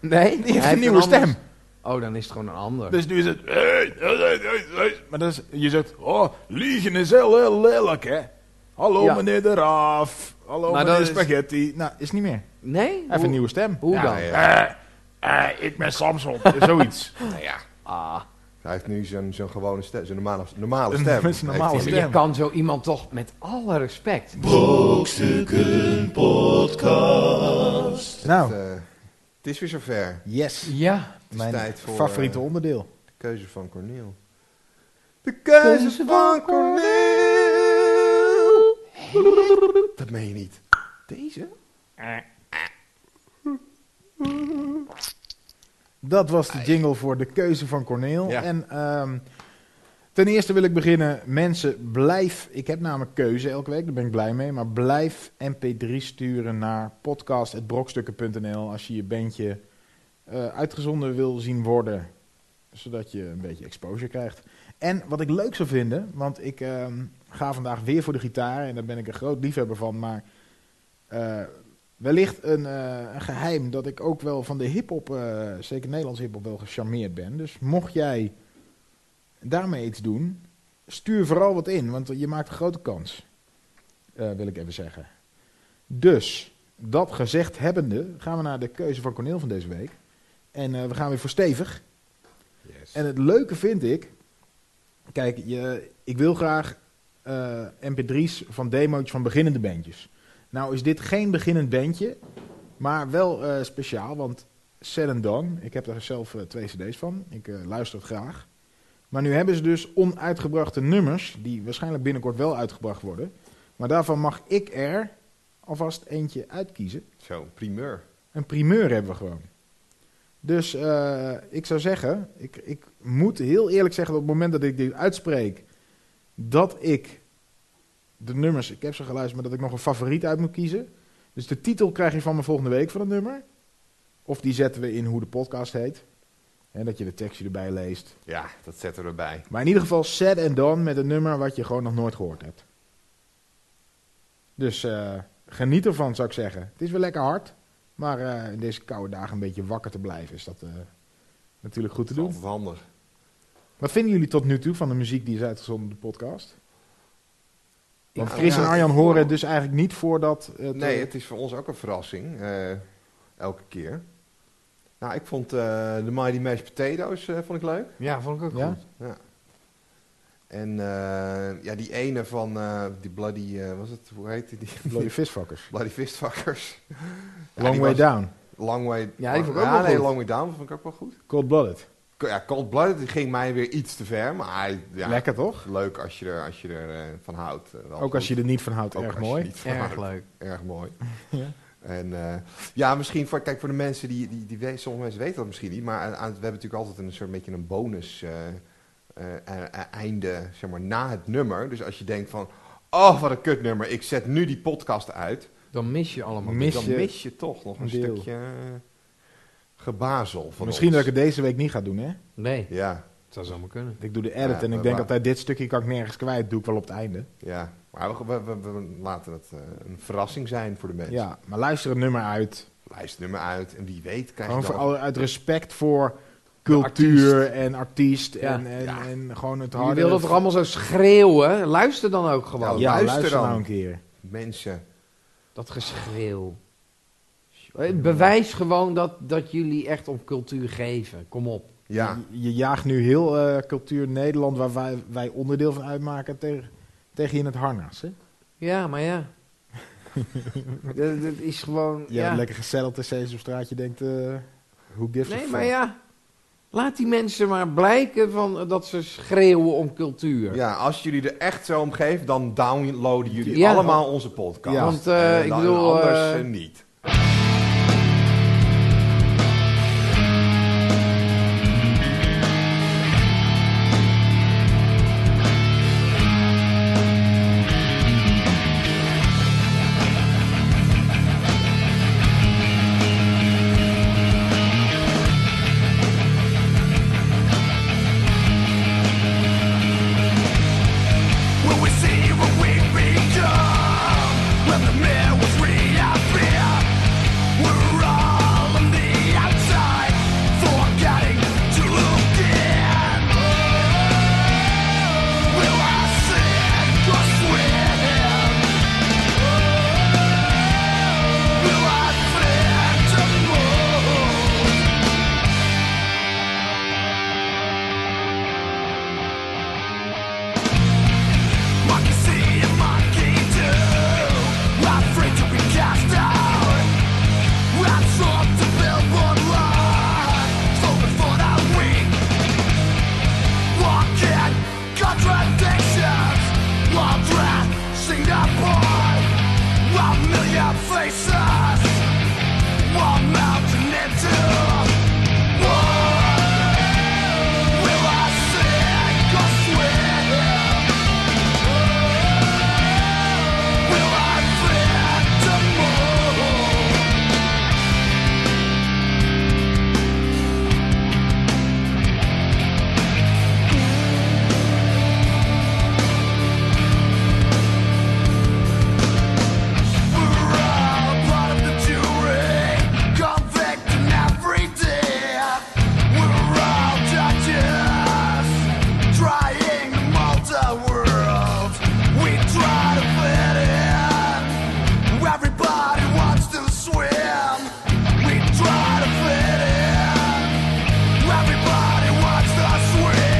Nee?
Die heeft
Hij
een nieuwe
anders-
stem.
Oh, dan is het gewoon een ander.
Dus nu is het... hey, hey, hey, hey, hey. Maar dat is, je zegt... Oh, liegen is heel, heel lelijk, hè? Hallo
Ja.
meneer de Raaf. Hallo
Maar
meneer
dat is-
Spaghetti. Nou, is niet meer. Hij
Nee?
heeft
Hoe-
een nieuwe stem.
Hoe
Ja,
dan?
ja.
Eh, eh, ik ben Samson. Zoiets.
Nou ja,
Ah,
hij heeft nu zijn, zijn gewone stem, zijn normale, normale
Een-
stem.
met zijn [laughs] normale
Heeft hij.
maar je
Stem.
kan zo iemand toch met alle respect...
Brokstukken Podcast.
nou,
Eh, het is weer zover.
yes.
Ja.
is
Mijn
tijd voor,
favoriete
eh,
onderdeel.
Keuze van Corneel. De keuze van Corneel. Dat meen je niet. Deze?
Dat was de jingle voor de keuze van Corneel.
Ja.
En ehm, ten eerste wil ik beginnen. Mensen, blijf. Ik heb namelijk keuze elke week, daar ben ik blij mee. Maar blijf MP3 sturen naar podcast.brokstukken.nl als je je bandje eh, uitgezonden wil zien worden. Zodat je een beetje exposure krijgt. En wat ik leuk zou vinden, want ik ehm, ga vandaag weer voor de gitaar. En daar ben ik een groot liefhebber van. Maar eh, wellicht een, eh, een geheim dat ik ook wel van de hip-hop, eh, zeker Nederlands hip-hop, wel gecharmeerd ben. Dus mocht jij daarmee iets doen, stuur vooral wat in, want je maakt een grote kans. Eh, wil ik even zeggen. Dus, dat gezegd hebbende, gaan we naar de keuze van Corneel van deze week. En eh, we gaan weer voor stevig.
Yes.
En het leuke vind ik. Kijk, je, ik wil graag eh, mp3's van demo's van beginnende bandjes. Nou is dit geen beginnend bandje, maar wel eh, speciaal, want Sad and Done, ik heb daar zelf eh, twee cd's van, ik eh, luister het graag. Maar nu hebben ze dus onuitgebrachte nummers, die waarschijnlijk binnenkort wel uitgebracht worden. Maar daarvan mag ik er alvast eentje uitkiezen.
Zo, primeur.
Een primeur hebben we gewoon. Dus eh, ik zou zeggen, ik, ik moet heel eerlijk zeggen dat op het moment dat ik dit uitspreek, dat ik de nummers, ik heb ze geluisterd, maar dat ik nog een favoriet uit moet kiezen. Dus de titel krijg je van me volgende week van het nummer. Of die zetten we in hoe de podcast heet. En dat je de tekstje erbij leest.
Ja, dat zetten we erbij.
Maar in ieder geval Sad and Done met een nummer wat je gewoon nog nooit gehoord hebt. Dus eh, geniet ervan, zou ik zeggen. Het is wel lekker hard. Maar eh, in deze koude dagen een beetje wakker te blijven is dat eh, natuurlijk goed te
Dat is
doen.
altijd handig.
Wat vinden jullie tot nu toe van de muziek die is uitgezonden op de podcast? Want
Ja,
Chris
ja.
en Arjan horen het dus eigenlijk niet voordat... Het,
Nee,
eh, [laughs]
het is voor ons ook een verrassing. eh, elke keer. Nou, ik vond eh, de Mighty Mashed Potatoes eh, vond ik leuk.
Ja, vond ik ook
Ja?
goed.
En eh, ja, die ene van eh, die bloody, eh, was het, hoe heette die? [laughs]
Bloody Fistfuckers.
bloody Fistfuckers. [laughs] Ja,
Long
die
Way
was-
Down.
Long Way
Ja, die vond ik ook
ja,
wel
nee,
goed.
Long Way Down vond ik ook wel goed.
Cold Blooded.
Ko- Ja, Cold Blooded die ging mij weer iets te ver, maar hij, ja,
Lekker toch?
leuk als je er, als je er eh, van houdt. eh, wel
Ook als je
goed.
er niet van houdt,
Ook
erg
als je
mooi.
niet van
Erg
houdt.
leuk.
Erg mooi.
[laughs] Ja.
En eh, ja, misschien voor, kijk, voor de mensen die, die, die weten, sommige mensen weten dat misschien niet, maar aan- aan- we hebben natuurlijk altijd een soort beetje een bonus eh, eh, eh, eh, einde, zeg maar, na het nummer. Dus als je denkt van, oh, wat een kutnummer, ik zet nu die podcast uit,
Dan mis je allemaal.
Mis
dan
je
mis je toch nog een
een deel.
stukje eh, gebazel van
Misschien
ons.
dat ik het deze week niet ga doen, hè?
Nee,
Ja,
dat zou zomaar kunnen.
Ik doe de edit
Ja,
en ik
we-
denk
we-
altijd dit stukje kan ik nergens kwijt. Doe ik wel op het einde.
ja. Maar we, we, we- we laten het eh, een verrassing zijn voor de mensen.
Ja, maar luister het nummer uit.
Luister het nummer uit en wie weet krijg je
Gewoon
dan...
voor alle, uit respect voor cultuur en artiest
Ja.
en, en,
Ja.
en gewoon het
Je
harde.
wil dat er allemaal zo schreeuwen. Luister dan ook
Ja.
gewoon.
Ja, luister,
Luister dan.
nou een keer.
mensen...
Dat geschreeuw. Eh, Bewijs gewoon dat, dat jullie echt om cultuur geven. Kom op.
Ja,
Je, je jaagt nu heel eh, cultuur Nederland, waar wij, wij onderdeel van uitmaken, tegen, tegen je in het harnas. Hè?
Ja, maar ja. dat, [laughs] dat is gewoon...
Je hebt
ja.
lekker gezellig te steeds op straat. Je denkt, eh hoe gives a
Nee,
fuck?
maar ja. Laat die mensen maar blijken van, eh, dat ze schreeuwen om cultuur.
Ja, als jullie er echt zo om geven, dan downloaden jullie
Ja.
allemaal onze podcast.
Ja.
Want, eh,
En
ik
dan
bedoel,
Anders
eh,
eh, niet.
contradictions. Well dressed, seen upon. Well, million faces. Well, melting into one. Will I sing or swim? Will I fit to move? Everybody wants to swim. We try to fit in. Everybody wants to swim.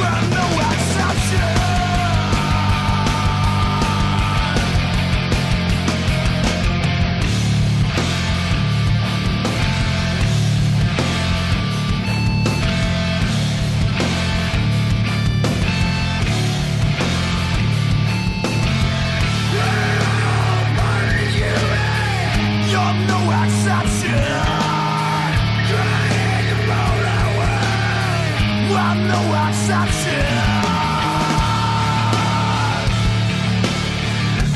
We're no exception. You're no exception. I'm no exception.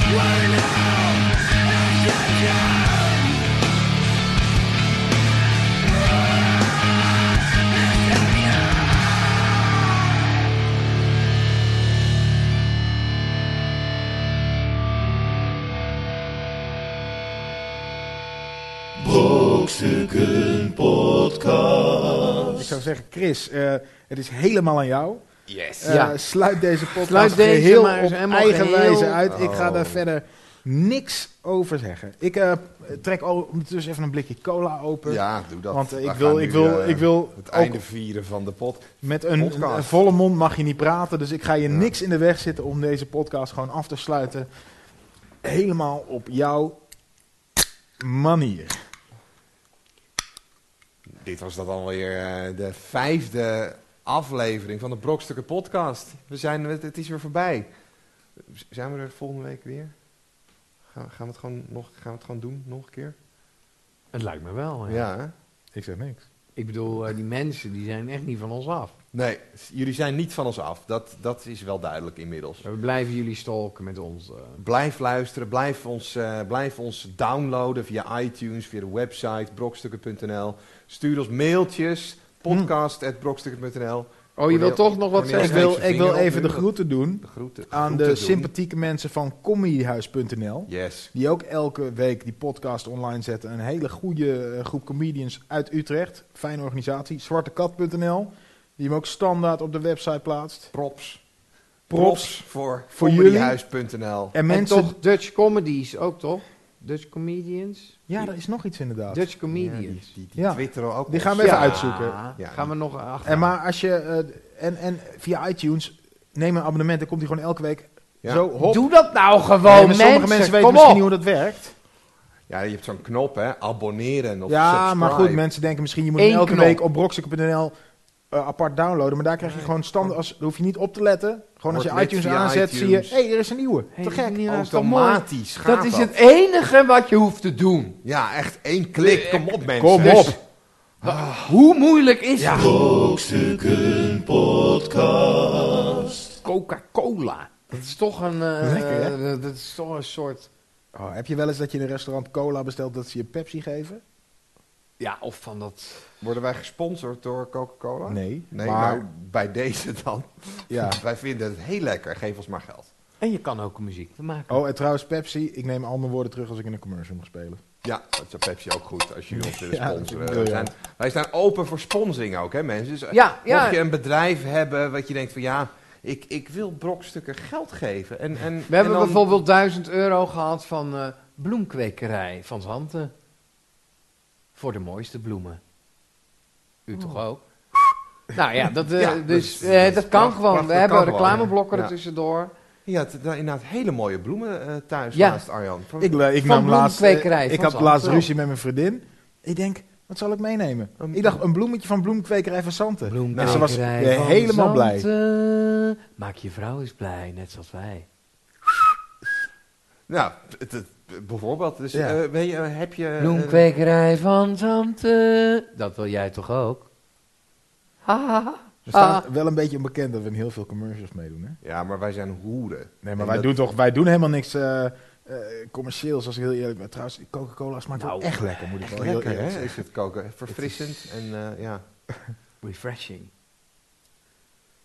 We're no exception.
Brokstukken Podcast.
Ik zou zeggen, Chris, eh, het is helemaal aan jou.
Yes.
Eh,
Ja.
Sluit deze podcast
Sluit deze
geheel
maar eens
op
helemaal
eigen
geheel.
wijze uit. Ik ga
Oh.
daar verder niks over zeggen. Ik eh, trek al ondertussen even een blikje cola open.
Ja, doe dat.
Want eh,
We
ik
gaan
wil,
nu,
ik wil,
eh,
ik wil
Het
ook
einde vieren van de pot.
met een,
podcast.
een volle mond mag je niet praten. Dus ik ga je
Ja.
niks in de weg zitten om deze podcast gewoon af te sluiten. Helemaal op jouw manier.
Dit was dat alweer eh de vijfde aflevering van de Brokstukken Podcast. We zijn, het, het is weer voorbij. Z- Zijn we er volgende week weer? Gaan, gaan, we het gewoon nog, gaan we het gewoon doen, nog een keer?
Het lijkt me wel. Ja.
Ja, hè?
Ik zeg niks.
Ik bedoel, eh, die mensen die zijn echt niet van ons af.
Nee, s- jullie zijn niet van ons af. Dat, dat is wel duidelijk inmiddels.
We blijven jullie stalken met ons. eh.
Blijf luisteren, blijf ons, eh, blijf ons downloaden via iTunes, via de website brokstukken.nl. Stuur ons mailtjes,
Hm.
podcast.brokstukken.nl.
Oh, je wil
Cornel-
toch nog wat
Cornel
zeggen?
Ik wil,
steekt zijn
ik wil
vinger op
even
nu.
de groeten doen.
De groeten.
aan de
groeten doen.
sympathieke mensen van comedyhuis.nl.
Yes.
Die ook elke week die podcast online zetten. Een hele goede eh, groep comedians uit Utrecht. Fijne organisatie. Zwartekat.nl. Die hem ook standaard op de website plaatst.
Props.
Props.
voor,
Voor
voor
jullie.
comedyhuis.nl.
En
En
mensen...
toch Dutch comedies ook, toch? Dutch comedians?
ja, er is nog iets inderdaad.
Dutch
Ja, die,
comedians.
die,
Ja.
ja. twitteren ook.
Die gaan we
ons.
even
Ja.
uitzoeken.
Ja.
Gaan we nog achter.
En maar als je... eh, en, en via iTunes... Neem een abonnement. Dan komt hij gewoon elke week
Ja.
zo hop.
Doe dat nou
Nee, maar
gewoon, mensen.
sommige mensen weten
Kom
misschien
op.
niet hoe dat werkt.
Ja, je hebt zo'n knop, hè? Abonneren of
Ja,
subscribe.
maar goed, mensen denken misschien je moet hem
Eén
elke
knop.
week op brokstukken.nl eh, apart downloaden. Maar daar krijg je gewoon standaard, als, daar hoef je niet op te letten. Gewoon als
Wordt
je
net
iTunes
via
aanzet,
iTunes.
zie je, hé, hey, er is een nieuwe.
Hey,
Te
dat is
gek.
niet raar, is toch mooi?
Automatisch gaat
Dat is het enige wat je hoeft te doen.
Ja, echt één klik. Kom op, mensen.
Kom
Dus-
op.
Hoe moeilijk is het?
Brokstukken Podcast.
Coca-Cola. Dat is toch een... eh,
Lekker, hè?
eh, dat is toch een soort...
Oh, heb je wel eens dat je in een restaurant cola bestelt dat ze je Pepsi geven?
Ja, of van dat...
Worden wij gesponsord door Coca-Cola?
Nee.
Nee,
Maar-
maar bij deze dan.
Ja.
[laughs] Wij vinden het heel lekker. Geef ons maar geld.
En je kan ook muziek te maken.
Oh, en trouwens, Pepsi, ik neem al mijn woorden terug als ik in een commercial mag spelen.
Ja, dat is op Pepsi ook goed als jullie ons willen
[laughs] Ja, dat
sponsoren.
bedoel je.
We zijn- wij staan open voor sponsoring ook, hè mensen. Dus eh,
Ja, ja.
mocht je een bedrijf hebben wat je denkt van ja, ik, ik wil brokstukken geld geven. En, en,
We hebben
en dan-
bijvoorbeeld 1000 euro gehad van eh, bloemkwekerij van Zanten. Voor de mooiste bloemen. U toch ook? Nou ja, dat, eh,
Oh. Ja,
dus,
dat-
eh,
dat
dat,
is
kan
pracht-
gewoon.
prachtig,
We hebben
kan gewoon,
reclameblokken
ja.
er tussendoor.
Je had daar inderdaad hele mooie bloemen eh, thuis
Ja.
naast Arjan. Van-
Ik, eh, ik
Van
nam laatst, eh,
bloemkwekerij,
ik
van
had
Zand,
laatst
ja.
ruzie met mijn vriendin. Ik denk, wat zal ik meenemen?
Een-
ik dacht, een bloemetje van bloemkwekerij van Santen.
Bloemkwekerij
en ze was eh,
van
helemaal blij.
Zanten. Maak je vrouw eens blij, net zoals wij.
Nou, het- het- bijvoorbeeld. Dus,
Ja.
eh, weet je, eh, heb je... eh,
Bloemkwekerij van Zanten. Dat wil jij toch ook? Haha.
We
Ah.
staan wel een beetje onbekend dat we in heel veel commercials meedoen. Hè?
ja, maar wij zijn hoeren.
Nee,
En
maar wij,
dat-
doen toch, wij doen helemaal niks eh, eh, commercieels, als ik heel eerlijk ben. Trouwens, die Coca-Cola smaakt wel echt lekker, moet ik wel Oh, heel
Lekker,
eerlijk
hè?
zeggen.
Is het koken. Verfrissend en eh, ja...
Refreshing.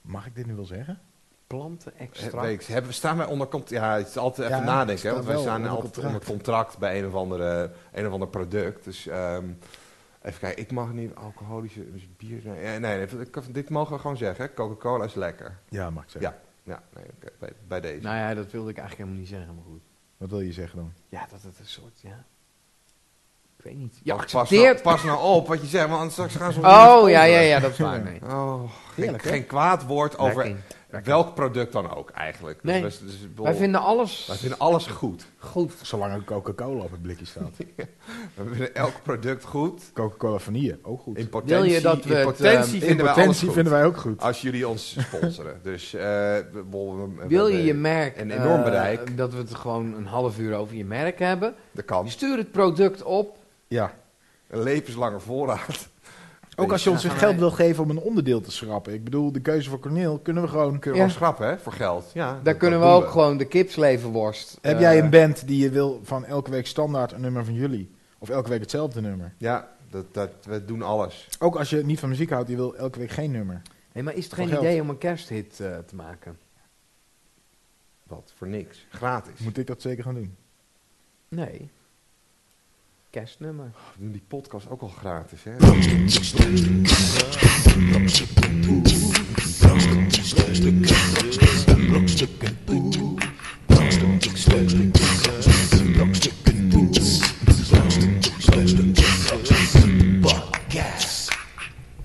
Mag ik dit nu wel zeggen?
Plantenextract.
Weet ik, hebben, staan wij onder contract? Ja, het is altijd even
Ja,
nadenken. hè,
staat
Want wij
wel
staan
onder
altijd
contract.
onder contract bij een of, andere, een of ander product. Dus ehm, even kijken. Ik mag niet alcoholische dus bier. Nee, eh, nee, nee, ik kan- dit mogen we gewoon zeggen. hè. Coca-Cola is lekker.
Ja, mag ik zeggen.
Ja, ja nee, oké, bij, bij deze.
Nou ja, dat wilde ik eigenlijk helemaal niet zeggen, maar goed.
Wat wil je zeggen dan?
Ja, dat het een soort, ja. Ik weet niet.
Ja,
Ja,
pas, nou,
accepteert.
pas nou op wat je zegt, want anders straks gaan ze...
Oh, ja, ja, ja, dat is waar. Nee.
Oh, geen,
Heerlijk, hè?
geen kwaad woord over
Lekker.
welk product dan ook eigenlijk.
Nee.
Dus, dus, ik bedoel,
Wij vinden alles
wij vinden alles goed.
goed.
Zolang er Coca-Cola op het blikje staat.
We vinden elk product goed.
[laughs] Coca-Cola vanille, ook goed.
In
In
potentie,
Wil je dat we
in
het,
potentie
ehm,
vinden wij alles
potentie
goed. Ah,
vinden wij ook goed.
Als jullie ons sponsoren. [laughs] dus eh, we- we- we-
Wil je
we-
je merk...
Een enorm
eh,
bereik.
dat we het gewoon een half uur over je merk hebben.
Dat kan.
Stuur het product op.
Ja.
Een levenslange voorraad. [laughs]
Ook als je ons weer geld wil geven om een onderdeel te schrappen. Ik bedoel, de keuze voor Corneel kunnen we gewoon...
Kunnen we
Ja.
ons schrappen, hè? Voor geld. Ja, dat-
Daar
dat
kunnen we
doen
ook gewoon de kipsleverworst...
Heb
eh,
jij een band die je wil van elke week standaard een nummer van jullie? Of elke week hetzelfde nummer?
Ja, dat, dat, we doen alles.
Ook als je niet van muziek houdt, je wil elke week geen nummer.
Nee, maar is het
Van
geen
geld.
idee om een kersthit eh, te maken?
Wat? Voor niks. Gratis.
Moet ik dat zeker gaan doen?
Nee. Kerstnummer.
We doen die podcast ook al gratis, hè?
Brokstukken poes, brokstukken poes, brokstukken poes, brokstukken